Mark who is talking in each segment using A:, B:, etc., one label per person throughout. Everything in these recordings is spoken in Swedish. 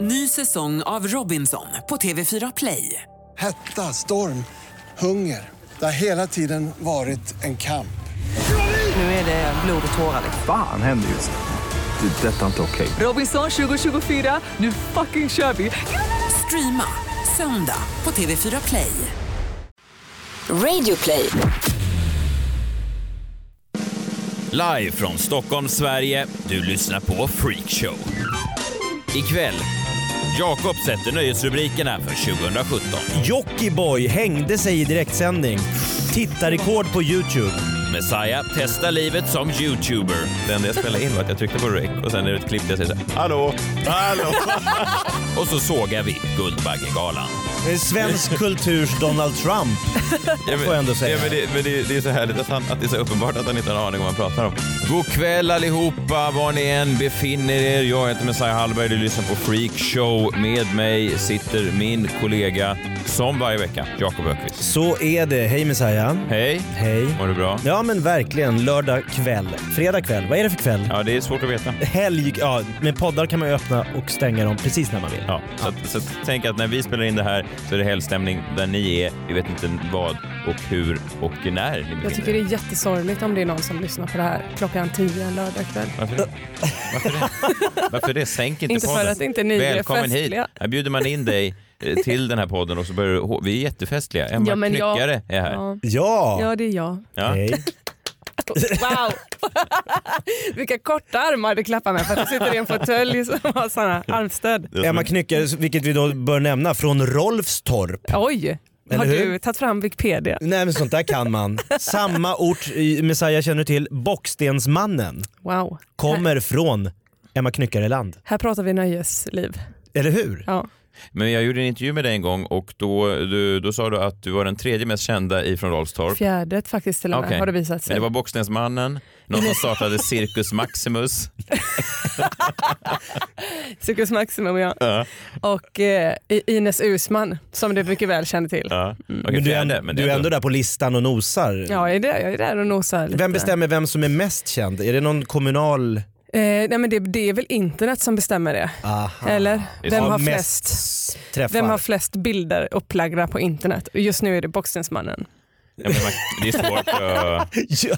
A: Ny säsong av Robinson på TV4 Play.
B: Hetta, storm, hunger. Det har hela tiden varit en kamp.
A: Nu är det blod och tårar.
C: Fan händer just nu. Det. är Detta är inte okej.
A: Robinson 2024, nu fucking kör vi! Streama söndag på TV4 Play.
D: Radio play.
E: Live från Stockholm, Sverige. Du lyssnar på Freakshow. Ikväll. Jakob sätter nöjesrubrikerna för 2017.
F: Jockiboi hängde sig i direktsändning. Tittarrekord på Youtube.
E: Messiah testar livet som youtuber.
G: Det enda jag spelade in var att jag tryckte på rec och sen är det ett klipp där jag säger så här, hallå, hallå.
E: Och så sågar vi Guldbaggegalan.
F: Det är Svensk kulturs Donald Trump.
G: Ja,
F: får jag ändå säga.
G: Ja, men det, men det, det är så härligt att, han, att det är så uppenbart att han inte har en aning om vad han pratar om.
E: God kväll allihopa, var ni än befinner er. Jag heter Messiah Hallberg, du lyssnar på Freak Show. Med mig sitter min kollega, som varje vecka, Jakob Ökvist.
F: Så är det. Hej Messiah.
G: Hej.
F: Hej.
G: Mår du bra?
F: Ja men verkligen, lördag kväll. Fredag kväll. Vad är det för kväll?
G: Ja, det är svårt att veta.
F: Helg. Ja, med poddar kan man ju öppna och stänga dem precis när man vill.
G: Ja, så, att, så att, tänk att när vi spelar in det här så är det helgstämning där ni är. Vi vet inte vad och hur och när ni befinner
H: Jag tycker det är jättesorgligt om det är någon som lyssnar på det här klockan tio en lördagkväll.
G: Varför det? Varför det? Varför det? Sänk inte,
H: Inte för
G: podden.
H: att inte ni är
G: Välkommen
H: festliga.
G: hit. Här bjuder man in dig eh, till den här podden och så börjar du... hå- Vi är jättefestliga. Emma ja,
H: men jag-
G: Knyckare är här.
H: Ja.
F: Ja!
H: ja, det är jag.
G: Ja.
F: Hej.
H: Wow! Vilka korta armar du klappar med för att du sitter i en fåtölj som har sådana armstöd.
F: Emma Knyckare, vilket vi då bör nämna, från Rolfstorp.
H: Oj!
F: Eller
H: Har
F: hur?
H: du tagit fram Wikipedia?
F: Nej men sånt där kan man. Samma ort, i- Messiah känner du till, Bockstensmannen.
H: Wow. Här,
F: Kommer från Emma Knyckare-land.
H: här pratar vi nöjesliv.
F: Eller hur?
H: Ja.
G: Men jag gjorde en intervju med dig en gång och då, du, då sa du att du var den tredje mest kända ifrån Rolfstorp.
H: Fjärdet faktiskt till och med
G: Okej.
H: har det visat
G: Men
H: sig.
G: det var Boxningsmannen, någon som startade Cirkus Maximus.
H: Cirkus Maximum ja. Och eh, I- Ines Usman som du mycket väl känner till.
G: Ja. Okej,
F: Men du, är,
G: fjärde,
F: ändå,
G: men
F: du är ändå där på listan och nosar.
H: Ja, jag är där, jag är där och nosar lite.
F: Vem bestämmer vem som är mest känd? Är det någon kommunal...
H: Eh, nej men det, det är väl internet som bestämmer det.
F: Aha.
H: Eller? Vem
F: Av
H: har
F: mest
H: flest?
F: träffar?
H: Vem har flest bilder upplagda på internet? Och Just nu är det Boxningsmannen.
G: Ja, men man, det är svårt att...
F: ja.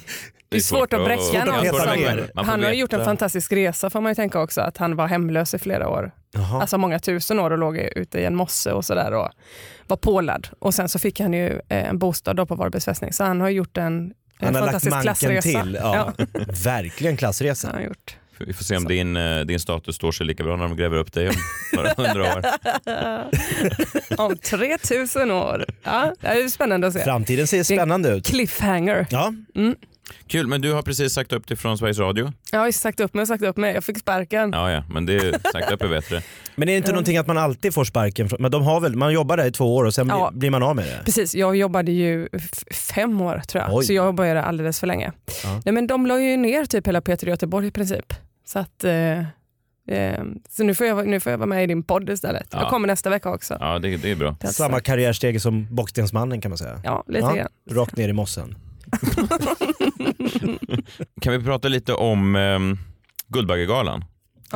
H: Det är svårt att bräcka
F: att
H: någon.
F: peta
H: som-
F: ner.
G: Man får
H: Han har ju gjort en
G: veta.
H: fantastisk resa får man ju tänka också, att han var hemlös i flera år.
F: Jaha.
H: Alltså många tusen år och låg ute i en mosse och sådär och var pålad. Och sen så fick han ju eh, en bostad då på Varbergs fästning. Så han har gjort en, en
F: han har lagt
H: fantastisk
F: manken
H: klassresa.
F: till. Ja. Verkligen
H: det har
F: klassresa.
H: han gjort.
G: Vi får se om din, eh, din status står sig lika bra när de gräver upp dig om några hundra år.
H: Om 3000 år. Ja, det är spännande att se.
F: Framtiden ser spännande ut.
H: Cliffhanger.
F: Ja.
G: Kul, men du har precis sagt upp dig från Sveriges Radio.
H: Jag har ju sagt upp mig och sagt upp mig. Jag fick sparken.
G: Ja, ja, men det sagt upp är bättre.
F: Men är det inte någonting att man alltid får sparken? från- Men de har väl, man jobbar där i två år och sen blir-
H: Ja.
F: blir man av med det?
H: Precis, jag jobbade ju f- fem år tror jag,
F: Oj.
H: så jag började alldeles för länge. Nej, men de la ju ner typ hela Peter i Göteborg i princip. Så, att, eh, eh, så nu, får jag, nu får jag vara med i din podd istället.
G: Ja.
H: Jag kommer nästa vecka också.
G: Ja, det, det är bra.
H: Till att-
F: Samma karriärsteg som Bockstensmannen kan man säga.
H: Ja, lite
F: Ja,
H: grann.
F: Rakt ner i mossen.
G: Kan vi prata lite om um, Guldbaggegalan?
F: Det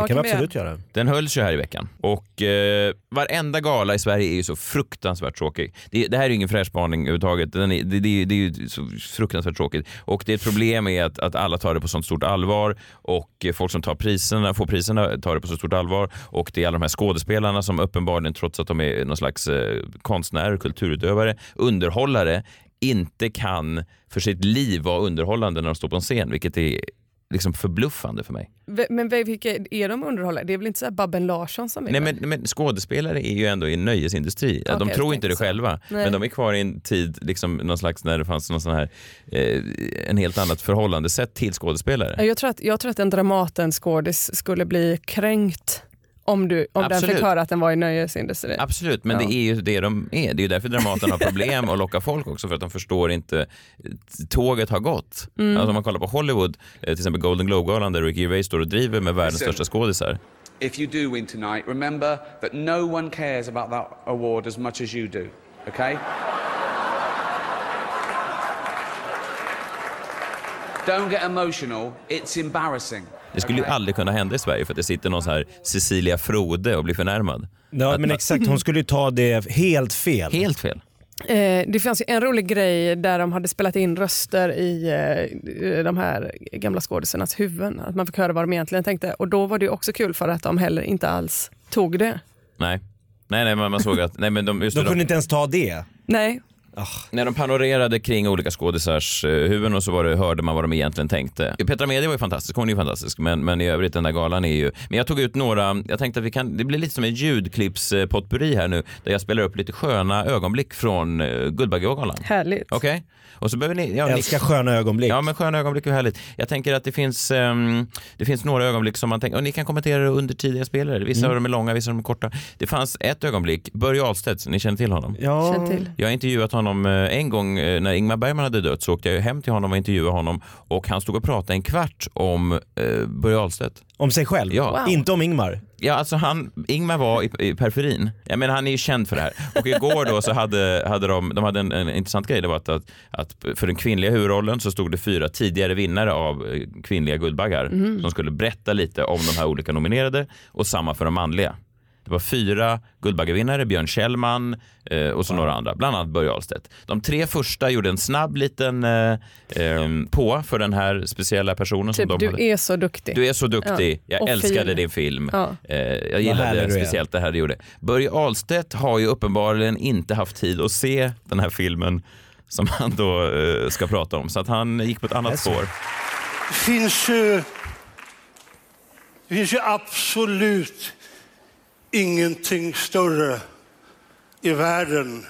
H: Ja,
F: kan
H: kan
F: vi
H: vi
F: absolut göra.
G: Den hölls ju här i veckan och eh, varenda gala i Sverige är ju så fruktansvärt tråkig. Det, det här är ju ingen fräsch spaning överhuvudtaget. Den är, det, det, det är ju så fruktansvärt tråkigt och det är ett problem är att, att alla tar det på sånt stort allvar och eh, folk som tar priserna, får priserna tar det på så stort allvar och det är alla de här skådespelarna som uppenbarligen trots att de är någon slags eh, konstnärer, kulturutövare, underhållare inte kan för sitt liv vara underhållande när de står på en scen vilket är liksom förbluffande för mig.
H: V- Men v- vilka är de underhållare? Det är väl inte så här Babben Larsson som är
G: Nej,
H: det?
G: men, men skådespelare är ju ändå i en nöjesindustri. de
H: Okej,
G: tror
H: jag
G: inte det
H: tänkte så.
G: själva,
H: Nej.
G: men de är kvar i en tid, liksom, någon slags, när det fanns någon sån här, eh, en helt annat förhållandesätt till skådespelare.
H: Ja, Jag tror att, jag tror att en Dramaten-skådis skulle bli kränkt om, du, om den
G: Absolut.
H: fick höra att den var i nöjesindustrin.
G: Absolut, men
H: Ja.
G: det är ju det de är. Det är ju därför Dramaten har problem och lockar folk också för att de förstår inte. eh, Tåget har gått.
H: Mm.
G: Alltså om man kollar på Hollywood, eh, till exempel Golden Globe-galan där Ricky Gervais står och driver med världens
I: Listen.
G: största skådisar.
I: If you do win tonight, remember that no one cares about that award as much as you do, okay? Don't get emotional, it's embarrassing.
G: Det skulle ju aldrig kunna hända i Sverige för att det sitter någon så här Cecilia Frode och blir förnärmad.
F: Ja, men exakt. Hon skulle ju ta det helt fel.
G: Helt fel.
H: Eh, det fanns ju en rolig grej där de hade spelat in röster i eh, de här gamla skådisarnas huvuden. Att man fick höra vad de egentligen tänkte. Och då var det ju också kul för att de heller inte alls tog det.
G: Nej. Nej, nej, men man såg att... Nej, men de, just det,
F: De
G: de-
F: kunde inte ens ta det.
H: Nej,
G: När de panorerade kring olika skådisars eh, huvuden och så var det, hörde man vad de egentligen tänkte. Petra Mede var ju fantastisk, hon är ju fantastisk, men, men i övrigt den där galan är ju... Men jag tog ut några, jag tänkte att vi kan, det blir lite som en ljudklippspotpurri här nu, där jag spelar upp lite sköna ögonblick från eh, Guldbaggegalan.
H: härligt.
G: Okej? Och så behöver ni... Ja,
F: Jag
G: ni
F: älskar sköna ögonblick.
G: Ja men sköna ögonblick är härligt. Jag tänker att det finns, ehm, det finns några ögonblick som man tänker, och ni kan kommentera det under tiden jag spelar det. Vissa av dem är långa, vissa av dem är korta. Det fanns ett ögonblick, Börje Ahlstedt, ni känner till honom?
H: Känn till.
G: Jag har intervjuat honom eh, en gång eh, när Ingmar Bergman hade dött så åkte jag hem till honom och intervjuade honom och han stod och pratade en kvart om eh, Börje Ahlstedt.
F: Om sig själv.
G: Ja.
H: Wow.
F: Inte om Ingmar.
G: Ja, alltså han, Ingmar var i, i periferin. Jag menar, han är ju känd för det här. Och igår då så hade, hade de, de hade en, en intressant grej. Det var att, att, att för den kvinnliga huvudrollen så stod det fyra tidigare vinnare av eh, kvinnliga Guldbaggar
H: Mhm.
G: som skulle berätta lite om de här olika nominerade och samma för de manliga. Det var fyra Guldbaggevinnare, Björn Kjellman eh, och så några andra, bland annat Börje Ahlstedt. De tre första gjorde en snabb liten eh, eh, på för den här speciella personen. som de
H: Typ, du
G: hade.
H: är så duktig.
G: Du är så duktig,
H: Ja.
G: jag
H: Och
G: älskade
H: fin.
G: din film.
H: Ja.
G: Eh, jag
F: härlig
G: gillade
F: du är.
G: speciellt det här du gjorde. Börje Ahlstedt har ju uppenbarligen inte haft tid att se den här filmen som han då eh, ska prata om. Så att han gick på ett annat
F: Jaså.
G: spår.
J: finns ju, det finns ju absolut ingenting större i världen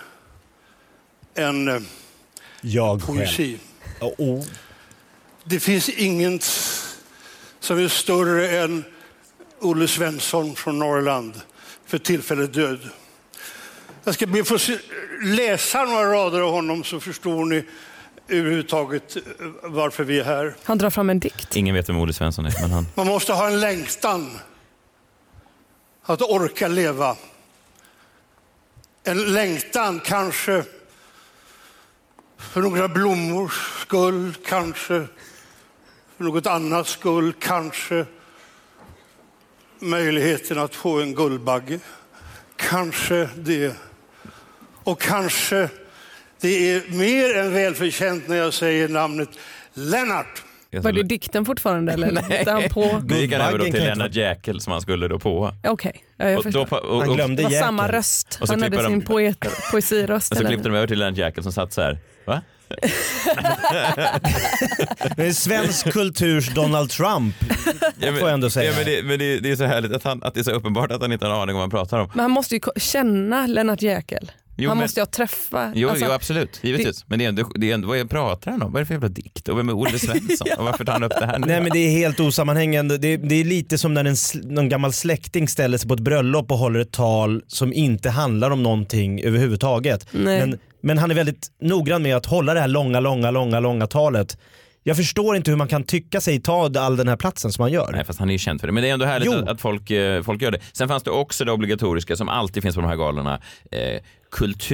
J: än eh,
F: Jag själv.
J: poesi.
F: Oh, oh.
J: Det finns inget som är större än Olle Svensson från Norrland, för tillfället död. Jag ska be att få se- läsa några rader av honom så förstår ni överhuvudtaget eh, varför vi är här.
H: Han drar fram en dikt.
G: Ingen vet vem Olle Svensson är, men han...
J: Man måste ha en längtan att orka leva. En längtan kanske för några blommors skull, kanske för något annat skull, kanske möjligheten att få en guldbagge. Kanske det. Och kanske det är mer än välförtjänt när jag säger namnet Lennart.
H: Var det dikten fortfarande eller? Nej. Han på?
G: Nu gick han över då
F: Guldbaggen
G: till
F: kan
G: Lennart Jäkel som han skulle då på.
H: Okej, ja, jag
G: Och
H: förstår.
G: då, pa- och,
F: Han
G: och,
F: glömde
H: Det var samma
F: jäkeln.
H: röst.
G: Och så
H: Han hade
G: klipper de-
H: sin poet, poesiröst.
G: och så
H: eller?
G: klippte de över till Lennart Jäkel som satt så här. Va?
F: Men svensk kulturs Donald Trump.
G: Ja,
F: Får jag ändå säga.
G: Ja, men det, men det, det är så härligt att, han, att det är så uppenbart att han inte har en aning om vad han pratar om.
H: Men han måste ju ko- känna Lennart Jäkel.
G: Jo,
H: han
G: men-
H: måste ju ha träffat.
G: Jo,
H: alltså,
G: jo absolut, givetvis. Men det är ändå, det är ändå, vad pratar han om? Vad är det för jävla dikt? Och vem är Olle Svensson? Och varför tar han upp det här nu?
F: Nej men det är helt osammanhängande. Det är, det är lite som när en sl- någon gammal släkting ställer sig på ett bröllop och håller ett tal som inte handlar om någonting överhuvudtaget.
H: Nej.
F: Men, men han är väldigt noggrann med att hålla det här långa, långa, långa, långa talet. Jag förstår inte hur man kan tycka sig ta all den här platsen som man gör.
G: Nej, fast han är ju känd för det. Men det är ändå härligt
F: Jo.
G: att, att folk, eh, folk gör det. Sen fanns det också det obligatoriska som alltid finns på de här galorna. Eh,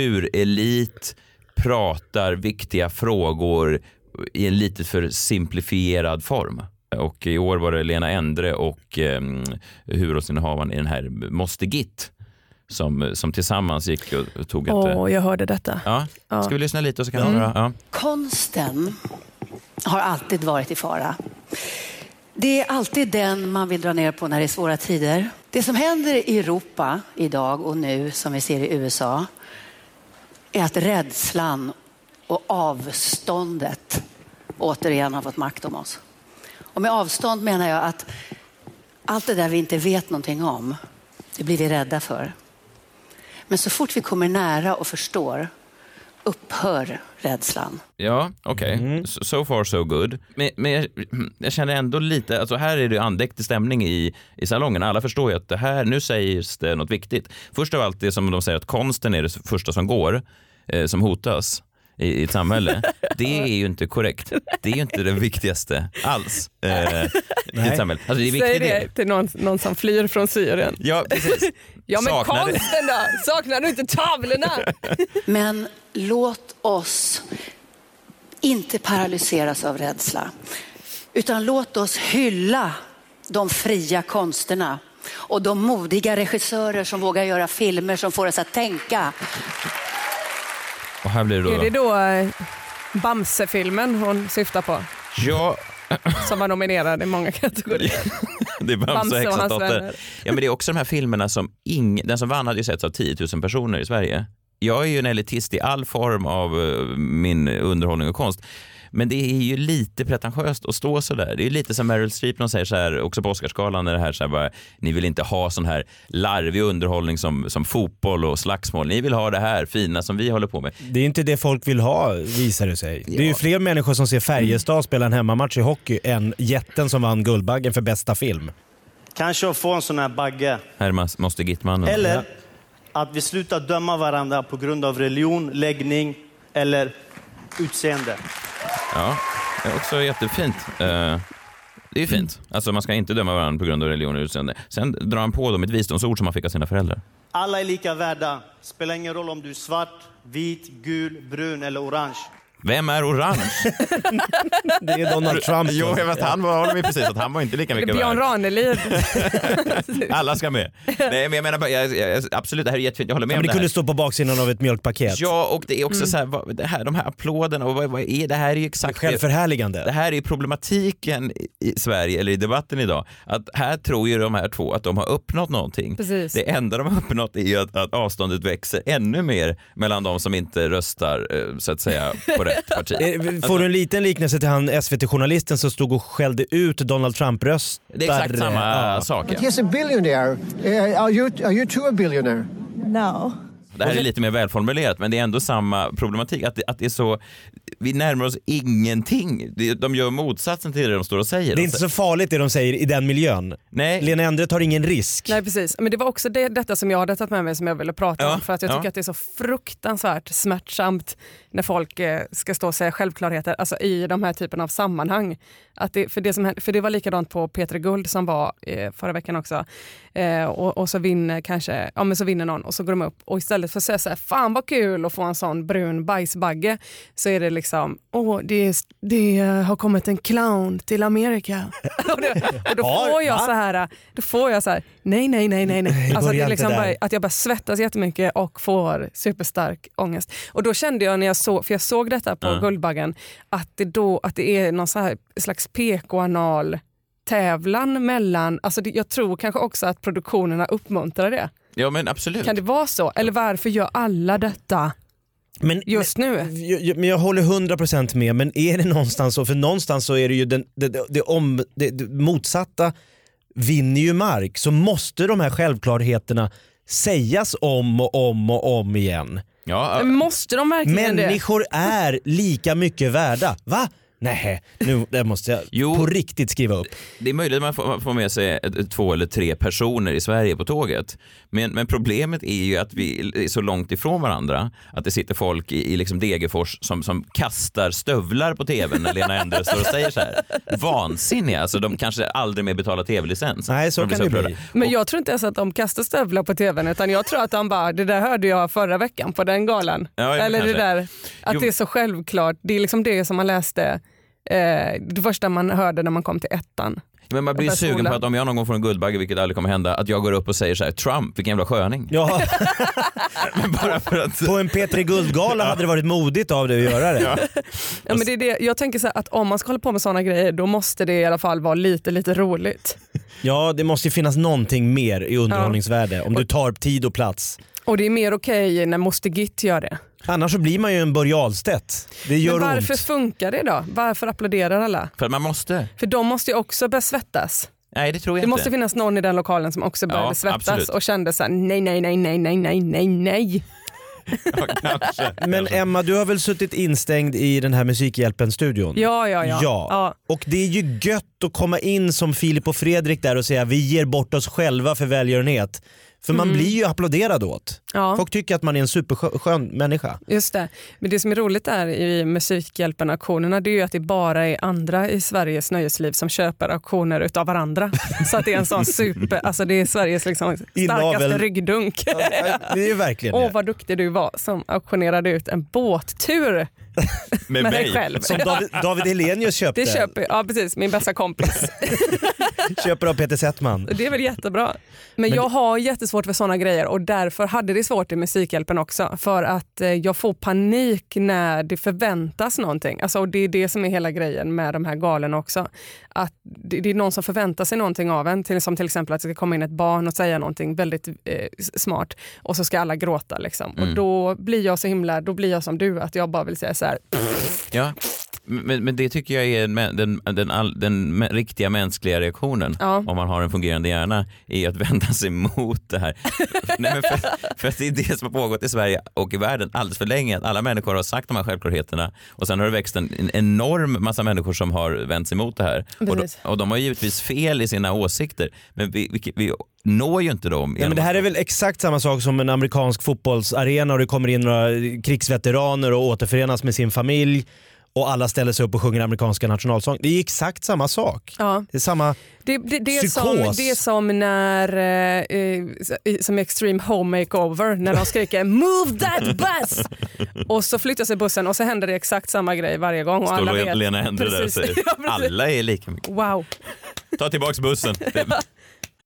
G: kulturelit pratar viktiga frågor i en lite för simplifierad form. Och i år var det Lena Endre och eh, huvudrollsinnehavaren i den här Moster Git som, som tillsammans gick och, och tog ett...
H: Åh,
G: eh,
H: jag hörde detta.
G: Ja, Mm. ska vi lyssna lite och så kan vi höra? Ja.
K: Konsten har alltid varit i fara. Det är alltid den man vill dra ner på när det är svåra tider. Det som händer i Europa idag och nu, som vi ser i USA, är att rädslan och avståndet återigen har fått makt om oss. Och med avstånd menar jag att allt det där vi inte vet någonting om, det blir vi rädda för. Men så fort vi kommer nära och förstår upphör rädslan.
G: Ja, okej. So, so far so good. Men, men jag, jag känner ändå lite, alltså här är det andäktig stämning i, i salongen. Alla förstår ju att det här, nu sägs det något viktigt. Först av allt det som de säger att konsten är det första som går, eh, som hotas i, i ett samhälle. Det är ju inte korrekt. Det är ju inte det viktigaste alls eh, i ett samhälle. Alltså det är
H: Säg
G: viktigt.
H: det till någon, någon som flyr från Syrien.
G: Ja, precis.
H: Ja men
G: Saknar det.
H: konsten då? Saknar du inte tavlorna?
K: Men låt oss inte paralyseras av rädsla, utan låt oss hylla de fria konsterna och de modiga regissörer som vågar göra filmer som får oss att tänka.
G: Och här blir det då...
H: Är det då eh, Bamse-filmen hon syftar på?
G: Ja,
H: Som var nominerad i många kategorier.
G: det är Bamse och
H: Bamse och
G: häxans
H: hans
G: dotter.
H: vänner.
G: Ja, men det är också de här filmerna som ing... den som vann hade ju setts av 10 000 personer i Sverige. Jag är ju en elitist i all form av eh, min underhållning och konst. Men det är ju lite pretentiöst att stå så där. Det är ju lite som Meryl Streep när hon säger så här, också på Oscarsgalan, när det här så här bara, ni vill inte ha sån här larvig underhållning som, som fotboll och slagsmål. Ni vill ha det här fina som vi håller på med.
F: Det är inte det folk vill ha visar det sig. Det är ju fler människor som ser Färjestad spela en hemmamatch i hockey än jätten som vann Guldbaggen för bästa film.
L: Kanske att få en sån här bagge.
G: Här är Mas- måste Gittmannen.
L: Eller att vi slutar döma varandra på grund av religion, läggning eller utseende.
G: Ja, det är också jättefint. Eh, Det är ju fint. Alltså man ska inte döma varandra på grund av religion och utseende. Sen drar han på dem ett visdomsord som han fick av sina föräldrar.
L: Alla är lika värda. Spelar ingen roll om du är svart, vit, gul, brun eller orange.
G: Vem är orange?
F: Det är Donald Trump.
G: Jo, jag vet, han var, håller med precis att han var inte lika
H: Eller
G: mycket
H: Björn
G: värd.
H: Ranelid.
G: Alla ska med. Nej, men jag menar bara, jag, jag, absolut, det här är jättefint. Jag håller med
F: Men
G: om
F: det
G: det
F: kunde
G: här.
F: stå på baksidan av ett mjölkpaket.
G: Ja, och det är också så här, vad, det här, de här applåderna, och vad, vad är det här? Är ju exakt Det
F: Självförhärligande.
G: här är ju problematiken i- i Sverige, eller i debatten idag, att här tror ju de här två att de har uppnått någonting.
H: Precis.
G: Det enda de har uppnått är ju att, att avståndet växer ännu mer mellan de som inte röstar eh, så att säga på rätt parti.
F: Eh, Får du en liten liknelse till han SVT-journalisten som stod och skällde ut Donald Trump-röstare?
G: Det är exakt samma sak. Ja.
M: He's a billionaire. Uh, are you are you too a billionaire?
N: No.
G: Det här är lite mer välformulerat men det är ändå samma problematik. Att det, att det är så, vi närmar oss ingenting. Det- De gör motsatsen till det de står och säger.
F: Det är inte så farligt det de säger i den miljön.
G: Nej.
F: Lena Endre tar ingen risk.
H: Nej precis, men det var också det, detta som jag hade tagit med mig som jag ville prata
G: Ja,
H: om för att jag
G: ja.
H: tycker att det är så fruktansvärt smärtsamt när folk eh, ska stå och säga självklarheter alltså i de här typen av sammanhang. Att det, för, det som, hände- för det var likadant på Peter Guld som var eh, förra veckan också eh, och, och så vinner kanske, ja men så vinner någon och så går de upp och istället för att säga så här, fan vad kul att få en sån brun bajsbagge så är det liksom, åh det, är- det har kommit en clown till Amerika. och, det, och då
F: Har-
H: får jag
F: va?
H: så här, då får jag så här, nej nej nej nej nej.
F: Det
H: Alltså att,
F: börjar
H: jag
F: inte
H: liksom
F: där.
H: bara, att jag bara svettas jättemycket och får superstark ångest. Och då kände jag när jag såg, för jag såg detta på
G: Ja.
H: Guldbaggen, att det, då, att det är någon så här slags PK-anal tävlan mellan, alltså det, jag tror kanske också att produktionerna uppmuntrar det.
G: Ja men absolut.
H: Kan det vara så? Eller varför gör alla detta
F: Men,
H: just nu?
F: Jag, jag- men jag håller 100% med, men är det någonstans så? För någonstans så är det ju den, det, det, det, om, det, det motsatta vinner ju mark. Så måste de här självklarheterna sägas om och om och om igen.
G: Ja,
H: Men Måste de verkligen
F: Människor är lika mycket värda. Va? Nej, nu det måste jag
G: Jo.
F: på riktigt skriva upp.
G: Det är möjligt att man får, man får med sig ett- ett- två eller tre personer i Sverige på tåget. Men, men problemet är ju att vi är så långt ifrån varandra att det sitter folk i, i liksom Degerfors som, som kastar stövlar på tvn när Lena Endre står och säger så här. Vansinniga, alltså de kanske aldrig mer betalar tv-licens.
F: Nej, så
G: De blir
F: kan det
G: upprörda.
H: det? Men jag tror inte ens att de kastar stövlar på tvn utan jag tror att de bara, det där hörde jag förra veckan på den galan.
G: Ja, ja, men
H: Eller det
G: kanske.
H: där, att
G: Jo.
H: det är så självklart. Det är liksom det som man läste, eh, det första man hörde när man kom till ettan.
G: Men man blir
H: Jag börjar
G: sugen
H: sola.
G: på att om jag någon gång får en Guldbagge, vilket aldrig kommer hända, att jag går upp och säger så här, Trump, vilken jävla sköning.
F: Ja,
G: Bara för att...
F: på en P3 Guldgala hade det varit modigt av dig att göra det.
H: Ja, men det är det, jag tänker så här, att om man ska hålla på med sådana grejer då måste det i alla fall vara lite, lite roligt.
F: Ja, det måste ju finnas någonting mer i underhållningsvärde om du tar tid och plats.
H: Och det är mer okej när Moster Git gör det.
F: Annars så blir man ju en Börje Ahlstedt. Det gör
H: men varför
F: ont.
H: funkar det då? Varför applåderar alla?
G: För att man måste.
H: För de måste ju också börja svettas.
G: Nej, det tror jag
H: Det
G: inte.
H: måste finnas någon i den lokalen som också började
G: Ja,
H: svettas
G: absolut.
H: och kände så här, nej, nej, nej, nej, nej, nej, nej, nej.
G: Ja, kanske.
F: Men Emma, du har väl suttit instängd i den här Musikhjälpen-studion?
H: Ja, ja, ja.
F: Ja. Och det är ju gött att komma in som Filip och Fredrik där och säga vi ger bort oss själva för välgörenhet. För man blir ju applåderad åt.
H: Mm. Ja.
F: Folk tycker att man är en superskön människa.
H: Just det. Men det som är roligt där i Musikhjälpen-auktionerna det är ju att det bara är andra i Sveriges nöjesliv som köper auktioner utav varandra. Så att det är en sån super, alltså det är Sveriges liksom starkaste
F: Inavel.
H: ryggdunk.
F: Det är ju verkligen
H: Åh
F: det.
H: vad duktig du var som auktionerade ut en båttur
G: Med,
H: Med dig
G: mig?
H: själv.
F: Som David, David Helenius köpte.
H: Det köper, ja precis, min bästa kompis.
F: Köper av Peter Settman.
H: Det är väl jättebra. Men,
F: Men
H: jag
F: det-
H: har jättesvårt för sådana grejer och därför hade det svårt i Musikhjälpen också. För att eh, jag får panik när det förväntas någonting. Alltså, och det är det som är hela grejen med de här galen också. Att det, det är någon som förväntar sig någonting av en. Till, som till exempel att det ska komma in ett barn och säga någonting väldigt eh, s- smart och så ska alla gråta. Liksom.
G: Mm.
H: Och då blir jag så himla, då blir jag som du, att jag bara vill säga så här.
G: Ja. Men, men det tycker jag är den, den, den, all, den mä- riktiga mänskliga reaktionen
H: Ja.
G: om man har en fungerande hjärna är att vända sig mot det här. Nej, men för, för att det är det som har pågått i Sverige och i världen alldeles för länge. Att alla människor har sagt de här självklarheterna och sen har det växt en, en enorm massa människor som har vänt sig mot det här. Och de,
F: Precis.
G: och de har givetvis fel i sina åsikter men vi, vi, vi når ju inte dem.
F: Ja, men det här är väl exakt samma sak som en amerikansk fotbollsarena och det kommer in några krigsveteraner och återförenas med sin familj och alla ställer sig upp och sjunger amerikanska nationalsång. Det är exakt samma sak.
H: Ja.
F: Det är samma...
H: Det, det, det, är som,
F: Psykos.
H: det är som när eh, eh, som i Extreme Home Makeover när de skriker “Move that bus!” och så flyttar sig bussen och så händer det exakt samma grej varje gång. Och
G: Står
H: alla
G: Le-
H: vet.
G: Lena Händer där och
H: Precis.
G: säger
H: Ja, precis.
G: alla är lika mycket.
H: Wow.
G: Ta tillbaks bussen.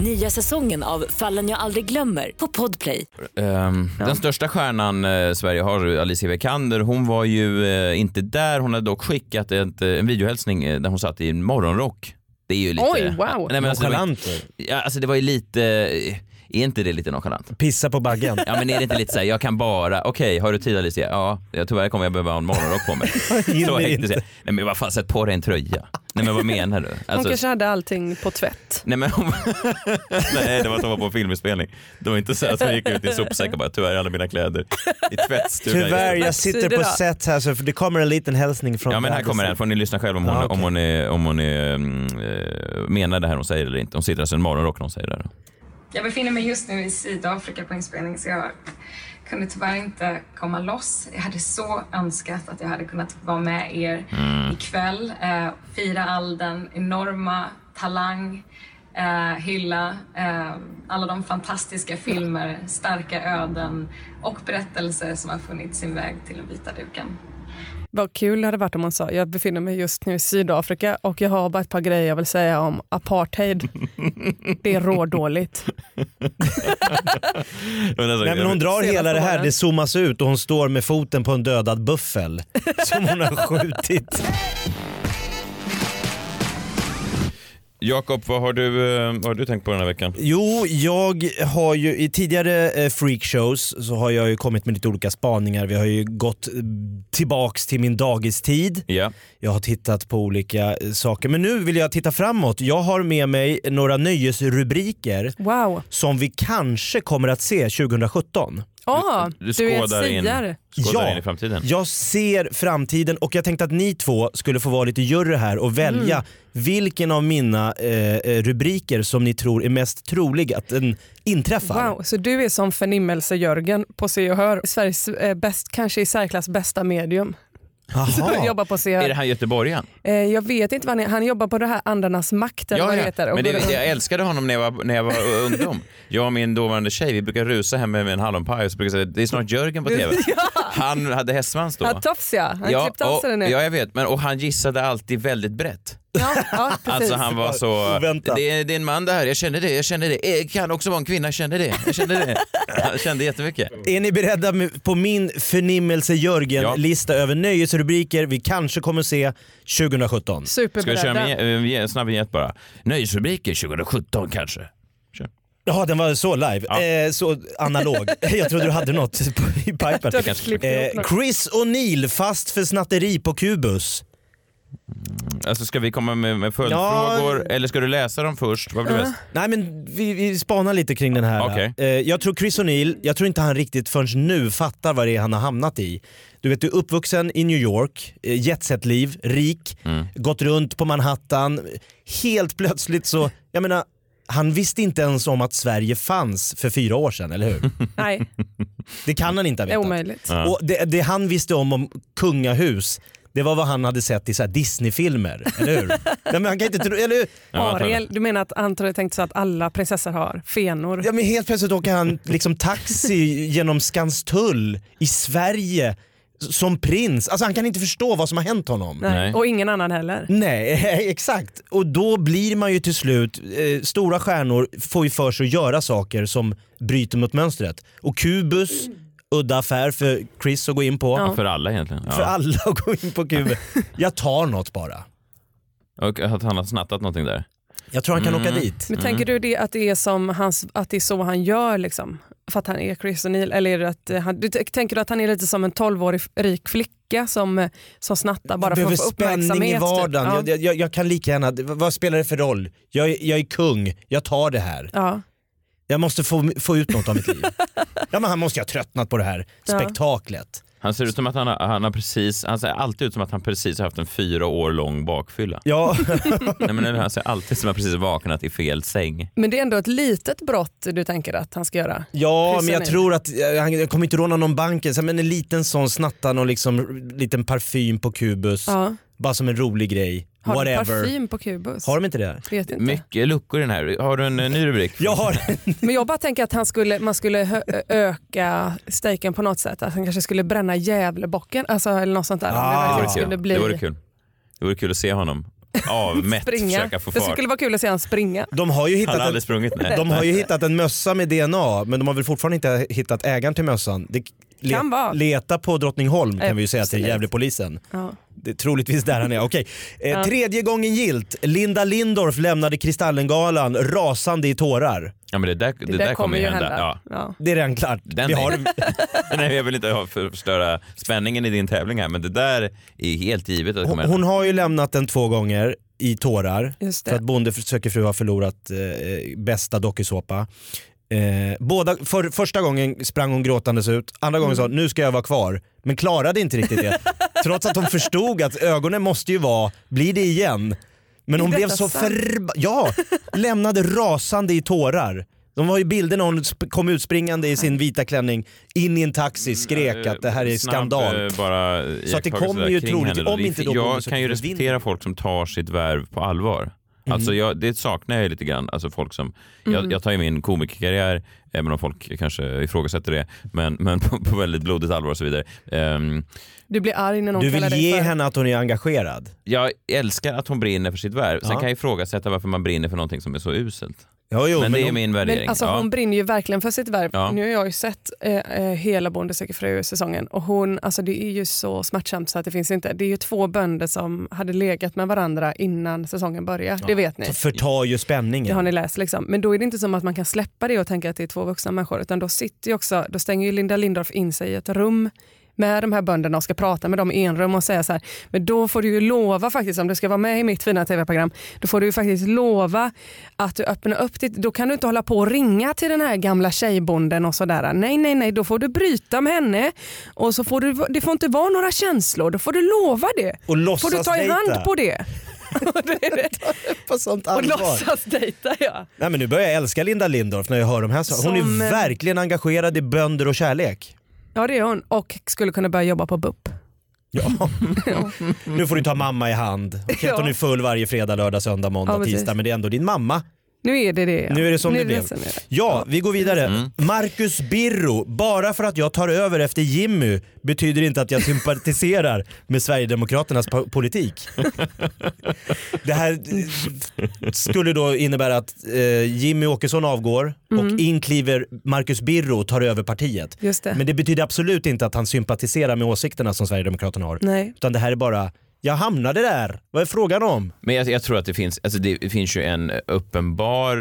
O: Nya säsongen av Fallen jag aldrig glömmer på Podplay.
G: Ehm, Den största stjärnan eh, Sverige har, Alicia Vikander, hon var ju eh, inte där. Hon hade dock skickat ett, eh, en videohälsning eh, där hon satt i en morgonrock. Det är ju lite...
H: Oj, wow.
G: Alltså, det var, ju- ja, alltså det var ju lite... eh, Är inte det lite nonchalant?
F: Pissa på baggen.
G: Ja men är det inte lite såhär, jag kan bara, okej har du tid Alicia? Ja, jag, tyvärr kommer jag behöva ha en morgonrock på mig. Så hektiskt. är jag. Nej men vad fan, sätt på dig en tröja. Nej men vad menar du? Alltså-
H: Hon kanske hade allting på tvätt.
G: Nej, men hon... Nej, det var att hon var på en filminspelning. Det var inte så att hon gick ut i sopsäck och bara tyvärr alla mina kläder i tvättstugan.
F: Tyvärr, jag sitter på set här så det kommer en liten hälsning från
G: Ja men här
F: Andersen.
G: kommer den, får ni lyssna själv om hon,
F: Ja, okej.
G: om hon, är, om hon är, mm, eh, menar det här hon säger eller inte. Hon sitter alltså i en morgonrock när hon säger det. här.
K: Jag befinner mig just nu i Sydafrika på inspelning så jag kunde tyvärr inte komma loss. Jag hade så önskat att jag hade kunnat vara med er
P: Mm.
K: ikväll. Eh, fira all den enorma talang, eh, hylla eh, alla de fantastiska filmer, starka öden och berättelser som har funnit sin väg till den vita duken.
H: Vad kul det hade varit om hon sa “Jag befinner mig just nu i Sydafrika och jag har bara ett par grejer jag vill säga om apartheid. Det är rådåligt.”
F: Nej,
G: Alltså,
F: men hon drar hela det här, det zoomas ut och hon står med foten på en dödad buffel som hon har skjutit.
G: Jakob, vad har, du, eh, vad har du tänkt på den här veckan?
F: Jo, jag har ju i tidigare eh, freakshows så har jag ju kommit med lite olika spaningar. Vi har ju gått eh, tillbaks till min dagistid.
G: Ja.
F: Jag har tittat på olika eh, saker. Men nu vill jag titta framåt. Jag har med mig några nöjesrubriker som vi kanske kommer att se 2017.
H: Ja,
G: Du
H: du är
G: skådar in,
H: siare.
G: skådar
F: Ja.
G: in i framtiden.
F: Jag ser framtiden och jag tänkte att ni två skulle få vara lite jury här och välja
H: Mm.
F: vilken av mina eh, eh, rubriker som ni tror är mest trolig att den inträffar.
H: Wow, så du är som förnimmelse-Jörgen på Se och Hör. Sveriges eh, bäst, kanske i särklass bästa medium.
F: Alltså,
G: Jaha.
H: jobbar på Se och
G: Är det
H: Hör.
G: här göteborgaren?
H: Eh, jag vet inte vad han är. Han jobbar på det här Andarnas makt eller vad det heter. Och
G: Men det,
H: går runt.
G: jag älskade honom när jag var, när jag var ungdom. Jag och min dåvarande tjej, vi brukar rusa hem med med en hallonpaj och så brukar jag säga det är snart Jörgen på TV. Han hade hästsvans då.
H: Han tofs ja. Han
G: Ja,
H: klippte av sig
G: och,
H: den nu.
G: ja, jag vet. Men, och han gissade alltid väldigt brett.
H: Ja, ja, precis.
G: Alltså han var så... Det är, det är en man det här, jag känner det, jag känner det. Eh, Kan också vara en kvinna, jag känner det, jag känner det. Han kände jättemycket.
F: Är ni beredda med- på min förnimmelse Jörgen-lista över nöjesrubriker vi kanske kommer se 2017?
G: eh, Ska vi köra en, en, en snabb vignett bara? Nöjesrubriker 2017 kanske? Kör.
F: Ja, den var så live. Eh, så analog. Jag trodde du hade något i pipen.
G: Jag kanske klipper ihop
F: Eh,
G: något.
F: Chris O'Neill fast för snatteri på Kubus.
G: Alltså ska vi komma med, med följdfrågor eller ska du läsa dem först? Vad blir bäst?
F: Nej men vi, vi spanar lite kring den här.
G: Okej.
F: Eh, Jag tror Chris O'Neill, jag tror inte han riktigt förrän nu fattar vad det är han har hamnat i. Du vet, du är uppvuxen i New York, eh, jetsetliv, rik, gått runt på Manhattan. Helt plötsligt så, jag menar, han visste inte ens om att Sverige fanns för fyra år sedan, eller hur?
H: Nej,
F: Det kan han inte ha
H: det är
F: vetat.
H: omöjligt.
F: Ja. Och det, det han visste om om kungahus, det var vad han hade sett i så här Disney-filmer, eller hur? Nej, men han kan inte tro, eller hur?
H: Ariel, du menar att Anton tänkte så att alla prinsessor har fenor?
F: Ja, men helt plötsligt åker han liksom taxi genom Skanstull i Sverige som prins. Alltså han kan inte förstå vad som har hänt honom.
H: Nej. Och ingen annan heller.
F: Nej, exakt. Och då blir man ju till slut, eh, stora stjärnor får ju för sig att göra saker som bryter mot mönstret. Och Kubus, udda affär för Chris att gå in på.
G: Ja, för alla egentligen. Ja.
F: För alla att gå in på Kubus. Jag tar något bara.
G: Och att han har snattat någonting där.
F: Jag tror han kan åka dit.
H: Men tänker du det, att, det är som hans, att det är så han gör liksom? För att han är Chris O'Neill? Eller är det att eh, han, du, t- tänker du att han är lite som en 12-årig f- rik flicka som, eh, som snattar bara för
F: behöver
H: att få uppmärksamhet?
F: spänning i
H: typ?
F: vardagen.
H: Ja.
F: Jag, jag- jag, jag kan lika gärna, v- vad spelar det för roll? Jag, är- jag är kung, jag tar det här.
H: Ja.
F: Jag måste få, få ut något av mitt liv. ja, men han måste ju ha tröttnat på det här
H: Ja.
F: spektaklet.
G: Han ser ut som att han har, han har precis, han ser alltid ut som att han precis har haft en fyra år lång bakfylla.
F: Ja.
G: Nej, men han ser alltid ut som att han precis vaknat i fel säng.
H: Men det är ändå ett litet brott du tänker att han ska göra?
F: Ja,
H: Chris
F: men jag
H: O'Neill.
F: tror att, eh, han jag kommer inte råna någon bank ens, men en liten sån snattar någon liksom, r- liten parfym på Kubus.
H: Ja.
F: Bara som en rolig grej.
H: Har
F: Whatever.
H: du parfym på Kubus?
F: Har de inte det?
H: Vet inte.
G: Mycket luckor i den här. Har du en eh, ny rubrik?
F: Jag har
H: Men jag bara tänker att han skulle, man skulle hö- öka stejken på något sätt. Att han kanske skulle bränna Gävlebocken alltså, eller något sånt där. Om det
G: det,
H: verkligen
G: vore kul.
H: skulle bli
G: det vore kul. Det vore kul att se honom avmätt
H: springa.
G: försöka få
H: Det
G: fart.
H: skulle vara kul att se han springa.
F: De har ju hittat
G: Han har
F: en-
G: aldrig sprungit, nej.
F: De har ju hittat en mössa med DNA, men de har väl fortfarande inte hittat ägaren till mössan. Det le-
H: Kan vara.
F: Leta på Drottningholm kan vi ju säga till
H: Absolut.
F: Gävlepolisen.
H: Ja.
F: Det är troligtvis där han är. Okej. Eh,
H: Ja.
F: Tredje gången gilt. Linda Lindorff lämnade Kristallengalan rasande i tårar.
G: Ja, men det där, det
F: där
G: där kommer
F: kommer
G: ju
F: ju
G: hända.
F: hända.
G: Ja.
F: Det är redan klart.
G: Den
F: vi
G: är-
F: har...
G: Nej, jag vill inte ha- förstöra spänningen i din tävling här, men det där är helt givet att det kommer
F: hon,
G: hända.
F: hon har ju lämnat den två gånger i tårar
H: Just det.
F: för att Bonde söker fru har förlorat eh, bästa dokusåpa. Eh, båda, för, första gången sprang hon gråtandes ut, andra
H: Mm.
F: gången sa nu ska jag vara kvar, men klarade inte riktigt det. Trots att hon förstod att ögonen måste ju vara, blir det igen? Men
H: Är
F: hon blev
H: detta
F: så
H: sant?
F: förbannad, ja, lämnade rasande i tårar. De har ju bilder när hon sp- kom utspringande i sin vita klänning, in i en taxi, skrek att det här är
G: Mm, eh, Snabb,
F: skandal.
G: eh, bara
F: Så att det
G: iakttagelse
F: kommer
G: där
F: ju
G: kring
F: troligt-
G: henne då.
F: om
G: Det är
F: inte
G: för-
F: då
G: Jag
F: Bonde söker
G: kan ju
F: fru vinner. Mhm.
G: respektera folk som tar sitt värv på allvar. Alltså jag, det saknar jag lite grann. Alltså folk som, jag,
E: Mm.
G: jag tar ju min komikerkarriär, även om folk kanske ifrågasätter det, men, men på, på väldigt blodigt allvar och så vidare. Ehm,
H: Du blir arg när någon
G: Du vill
H: kallar dig
G: ge
H: för...
G: henne-
F: Henne att hon är engagerad.
G: jag älskar att hon brinner för sitt värv. Sen
F: Ja.
G: kan jag ifrågasätta varför man brinner för någonting som är så uselt. men, det är min värdering.
H: Men alltså,
G: ja.
H: Hon brinner ju verkligen för sitt värv.
G: Ja.
H: Nu har jag ju sett eh, eh, hela Bonde söker fru-säsongen och hon, alltså, det är ju så smärtsamt så att det finns inte. Det är ju två bönder som hade legat med varandra innan säsongen började, det vet ni.
F: Förtar ju
H: Det har
F: spänningen.
H: ni läst liksom. Men då är det inte som att man kan släppa det och tänka att det är två vuxna människor, utan då sitter ju också, då stänger ju Linda Lindorff in sig i ett rum med de här bönderna och ska prata med dem i enrum och säga så här, men då får du ju lova faktiskt, om du ska vara med i mitt fina tv-program, då får du ju faktiskt lova att du öppnar upp ditt, då kan du inte hålla på och ringa till den här gamla tjejbonden och sådär. Nej, nej, nej, då får du bryta med henne och så får du, det får inte vara några känslor, då får du lova det.
F: Och
H: får du ta i hand
F: låtsasdejta.
H: på det?
F: på sånt
H: och
F: allvar.
H: låtsasdejta ja.
F: Nej men nu börjar jag älska Linda Lindorff när jag hör de här sakerna. Hon
H: Som,
F: är
H: eh,
F: verkligen engagerad i bönder och kärlek.
H: Ja det är hon och skulle kunna börja jobba på BUP.
F: Nu får du ta mamma i hand. Okej att hon
H: Ja.
F: är full varje fredag, lördag, söndag, måndag,
H: Ja, precis.
F: tisdag men det är ändå din mamma.
H: Nu är det det. ja.
F: Nu är det som det blev.
H: som det är.
F: Ja, vi går vidare. Marcus Birro, bara för att jag tar över efter Jimmy betyder inte att jag sympatiserar med Sverigedemokraternas po- politik. Det här eh, skulle då innebära att eh, Jimmy Åkesson avgår
H: Mm.
F: och inkliver Marcus Birro och tar över partiet.
H: Just det.
F: Men det betyder absolut inte att han sympatiserar med åsikterna som Sverigedemokraterna har.
H: Nej.
F: Utan det här är bara Jag hamnade där. Vad är frågan om?
G: Men jag, jag tror att det finns, alltså det finns ju en uppenbar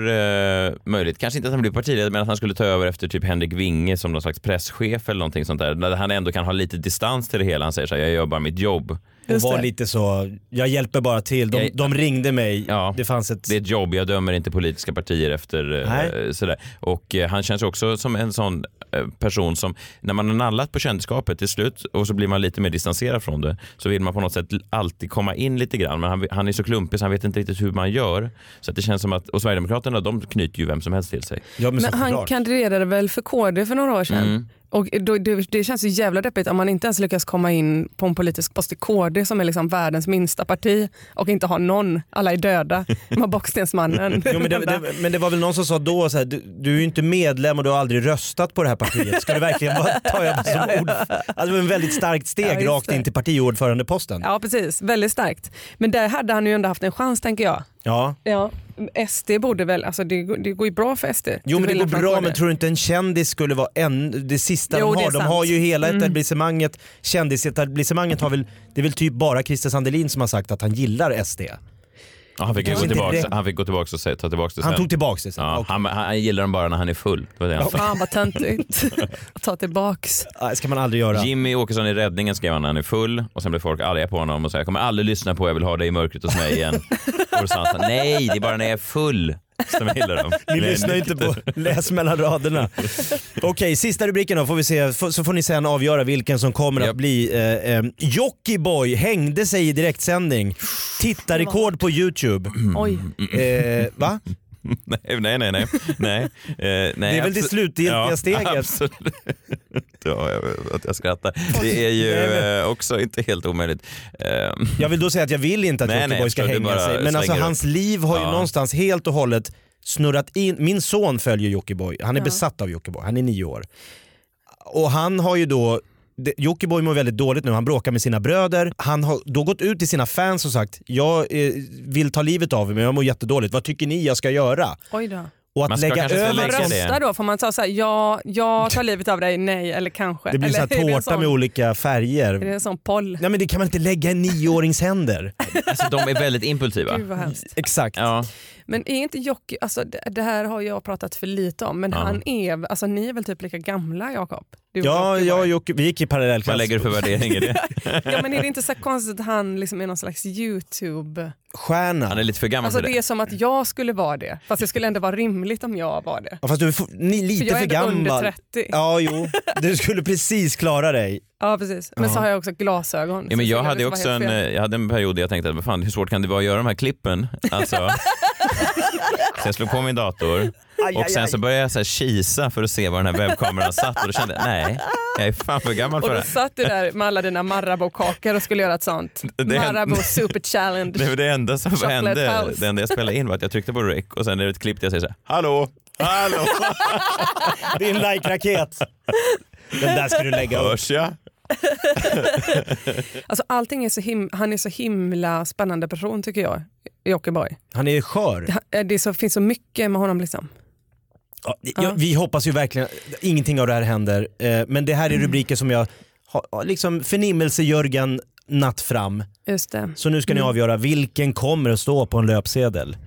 G: eh, möjlighet, kanske inte att han blir partiledare, men att han skulle ta över efter typ Henrik Winge som någon slags presschef eller någonting sånt där. Där han ändå kan ha lite distans till det hela. Han säger så här, jag gör bara mitt jobb.
F: Och var lite så, jag hjälper bara till. De, de ringde mig. det fanns ett...
G: Det är ett jobb, jag dömer inte politiska partier efter eh,
F: Nej.
G: sådär. Och eh, han känns också som en sån eh, person som, när man har nallat på kändisskapet till slut och så blir man lite mer distanserad från det, så vill man på något sätt alltid komma in lite grann. Men han, han är så klumpig så han vet inte riktigt hur man gör. Så att det känns som att, och Sverigedemokraterna de knyter ju vem som helst till sig.
H: Men han kandiderade väl för KD för några år sedan?
G: Mm.
H: Och då, det, det känns ju jävla deppigt om man inte ens lyckas komma in på en politisk post i KD som är liksom världens minsta parti och inte har någon. Alla är döda. De har Bockstensmannen.
F: Jo, men, det, det, men det var väl någon som sa då så här, du, du är ju inte medlem och du har aldrig röstat på det här partiet. Ska du verkligen vara, ta över som ord? Alltså, det var en väldigt starkt steg
H: Ja, just
F: rakt
H: det.
F: in till partiordförandeposten.
H: Ja precis, väldigt starkt. Men där hade han ju ändå haft en chans tänker jag.
F: Ja.
H: Ja, SD borde väl, alltså det, går- det går ju bra för SD.
F: Jo men det
H: Till
F: går
H: skillnad från
F: bra
H: KD.
F: men tror du inte en kändis skulle vara en, det sista
H: Jo,
F: de
H: det är
F: har? De
H: sant.
F: har ju hela
H: Mm.
F: etablissemanget. Kändisetablissemanget har väl, det är väl typ bara Christer Sandelin som har sagt att han gillar SD.
G: Ja, han, fick ju gå
F: Det kanske inte
G: tillbaks,
F: räcker.
G: han fick gå tillbaka och säga, ta tillbaka det
F: Han
G: sen.
F: tog tillbaks det sen,
G: Ja, han, han gillar dem bara när han är full. Det var det han sa.
H: Fan vad töntigt att ta tillbaks.
F: Det äh, ska man aldrig göra.
G: Jimmy Åkesson i Räddningen skrev han när han är full och sen blev folk arga på honom och sa jag kommer aldrig lyssna på Jag vill ha dig i mörkret hos mig igen. och då sa han så här, nej det är bara när jag är full som jag gillar dem.
F: Ni
G: Nej,
F: lyssnar ju inte på läs mellan raderna. Okej, sista rubriken då får vi se, F- så får ni sen avgöra vilken som kommer att bli. Eh, eh, Jockiboi hängde sig i direktsändning. Tittarrekord på Youtube.
H: Oj.
F: Eh, va?
G: nej, nej, nej. nej. nej. Eh, nej
F: Det är väl det
G: abso-
F: slutgiltiga
G: ja,
F: steget.
G: Absolut. Ja, jag, vet att jag skrattar. Det är ju
F: Nej, men-
G: eh, också inte helt omöjligt. Ehm,
F: Jag vill då säga att jag vill inte att
G: Nej, nej,
F: Jockiboi
G: jag
F: ska
G: förstår, du
F: hänga
G: bara
F: sig. Men alltså
G: svänger
F: hans
G: upp.
F: liv har ju
G: Ja.
F: någonstans helt och hållet snurrat in. Min son följer Jockiboi. Han är
G: Ja.
F: besatt av Jockiboi. Han är nio år. Och han har ju då det- Jockiboi mår väldigt dåligt nu, han bråkar med sina bröder. Han har då gått ut till sina fans och sagt “Jag eh, vill ta livet av mig, jag mår jättedåligt. Vad tycker ni jag ska göra?”
H: Oj då.
F: Och att lägga över...
H: Får man rösta då? Får man säga såhär, ja, jag tar livet av dig, nej eller kanske.
F: Det blir så
H: eller,
F: här
H: är det en
F: tårta
H: sån-
F: med olika
H: Är det
F: färger.
H: en sån poll?
F: Nej men det kan man inte lägga i en nioårings händer.
G: alltså de är väldigt impulsiva.
H: Gud vad hemskt.
F: Exakt.
H: Men är inte Jocke, alltså det, det här har jag pratat för lite om, men
F: Ja.
H: han är, alltså ni är väl typ lika gamla Jakob? Du och
F: Ja, jag och Jocke, vi gick i parallellklass.
G: Vad lägger du för värdering i det?
H: Ja men är det inte så konstigt att han liksom är någon slags YouTube...
F: Stjärna.
G: Han är lite för gammal
H: Alltså
G: för
H: det är som att jag skulle vara det, fast det skulle ändå vara rimligt om jag var det.
F: Ja, fast du är for- ni är lite
H: För jag
F: för,
H: är ändå
F: gammal.
H: under 30.
F: Ja, jo. Du skulle precis klara dig.
H: Ja precis, men så
F: Ja.
H: har jag också glasögon.
G: Ja, men
H: så
G: jag
H: skulle
G: hade
H: liksom
G: också
H: vara
G: en,
H: helt fel.
G: eh, jag hade en period där jag tänkte att vad fan, hur svårt kan det vara att göra de här klippen? Alltså, så jag slog på min dator
F: Aj,
G: och
F: aj,
G: sen
F: aj.
G: så började jag så här kisa för att se var den här webbkameran satt och då kände jag nej, jag är fan för gammal
H: Och
G: för
H: då
G: det
H: satt du där med alla dina Marabou-kakor och skulle göra ett sånt.
G: Det är-
H: Marabou super challenge.
G: Det var det enda som
H: Chocolate
G: hände,
H: house.
G: det enda jag spelade in var att jag tryckte på rec och sen är det ett klipp där jag säger så här, hallå, hallå.
F: Det är en like-raket. Den där ska du lägga upp.
G: Hörs jag?
H: Alltså allting är så him- han är så himla spännande person tycker jag, Jockiboi.
F: Han är skör.
H: Han- eh, Det är så, finns så mycket med honom liksom.
F: Ja, jag, vi hoppas ju verkligen att ingenting av det här händer. Eh, Men det här
H: Mm.
F: är rubriker som jag har, liksom förnimmelse-Jörgen natt fram.
H: Just det.
F: Så nu ska ni
H: Mm.
F: avgöra vilken kommer att stå på en löpsedel.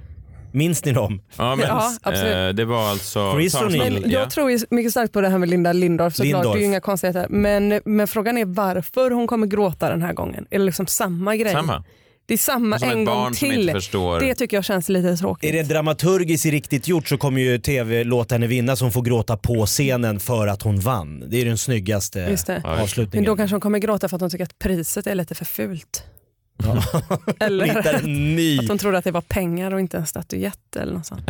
F: Minns ni dem?
G: Ja, men,
H: Ja, absolut.
G: eh, det var alltså
F: Chris
G: Tarzan-
F: O'Neill.
G: Ja.
H: Jag tror ju mycket starkt på det här med Linda Lindorff såklart,
F: Lindorff.
H: det är ju inga konstigheter. Men, men frågan är varför hon kommer gråta den här gången. Är det liksom samma grej?
F: Samma.
H: Det är samma
F: Som ett
H: en gång
F: barn som
H: till.
F: inte förstår.
H: Det tycker jag känns lite tråkigt.
F: Är det dramaturgiskt riktigt gjort så kommer ju tv låta henne vinna så hon får gråta på scenen för att hon vann. Det är den snyggaste
H: Just det. Men
F: avslutningen.
H: då kanske hon kommer gråta för att hon tycker att priset är lite för fult.
F: Vi hittar
H: Eller
F: en ny.
H: att hon trodde att det var pengar och inte en statyett eller något sånt.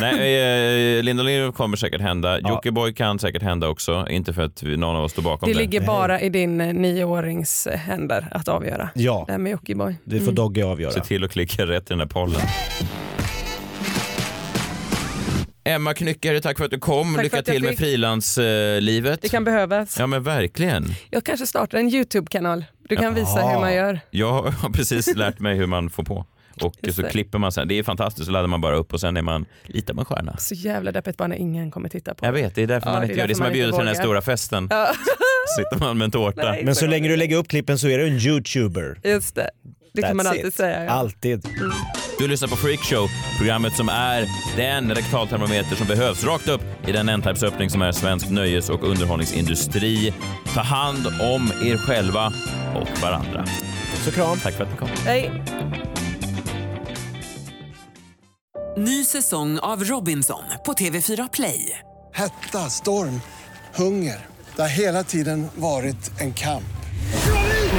G: Nej, eh, Linda Lindorff kommer säkert hända. Jockiboi kan säkert hända också. Inte för att vi- någon av oss står bakom
H: Det
G: det.
H: ligger bara i din eh, nioårings eh, händer att avgöra.
F: Ja.
H: Det här med Jockiboi.
F: Det får
H: Mm.
F: Dogge avgöra.
G: Se till att klicka rätt i den här pollen. Emma Knyckare, tack för att du kom.
H: Tack för
G: Lycka
H: att jag
G: till med
H: fick.
G: frilanslivet.
H: Det kan behövas.
G: Ja men verkligen.
H: Jag kanske startar en YouTube-kanal. Du kan visa
G: Jaha.
H: hur man gör.
G: Jag har precis lärt mig hur man får på. Och
H: Just
G: så
H: det.
G: klipper man sen. Det är fantastiskt, så laddar man bara upp och sen är man lite av en stjärna.
H: Så jävla deppigt bara när ingen kommer titta på.
G: Jag vet, det är därför
H: Ja,
G: man
H: det är
G: inte gör det. Det är
H: därför
G: som
H: man
G: att bjuda
H: inte
G: till den här
H: vågar.
G: stora festen.
H: Ja.
G: sitter man med en tårta.
F: Men så länge du lägger upp klippen så är du en youtuber.
H: Just det. Det kan man
F: That's
H: alltid
F: it.
H: säga. Ja.
F: Alltid.
G: Du lyssnar på Freakshow, programmet som är den rektaltermometer som behövs rakt upp i den ändtarmsöppning som är svensk nöjes och underhållningsindustri. Ta hand om er själva och varandra.
F: Så kram.
G: Tack för att ni kom.
H: Hej.
A: Ny säsong av Robinson på TV4 Play.
B: Hetta, storm, hunger. Det har hela tiden varit en kamp.
A: Nu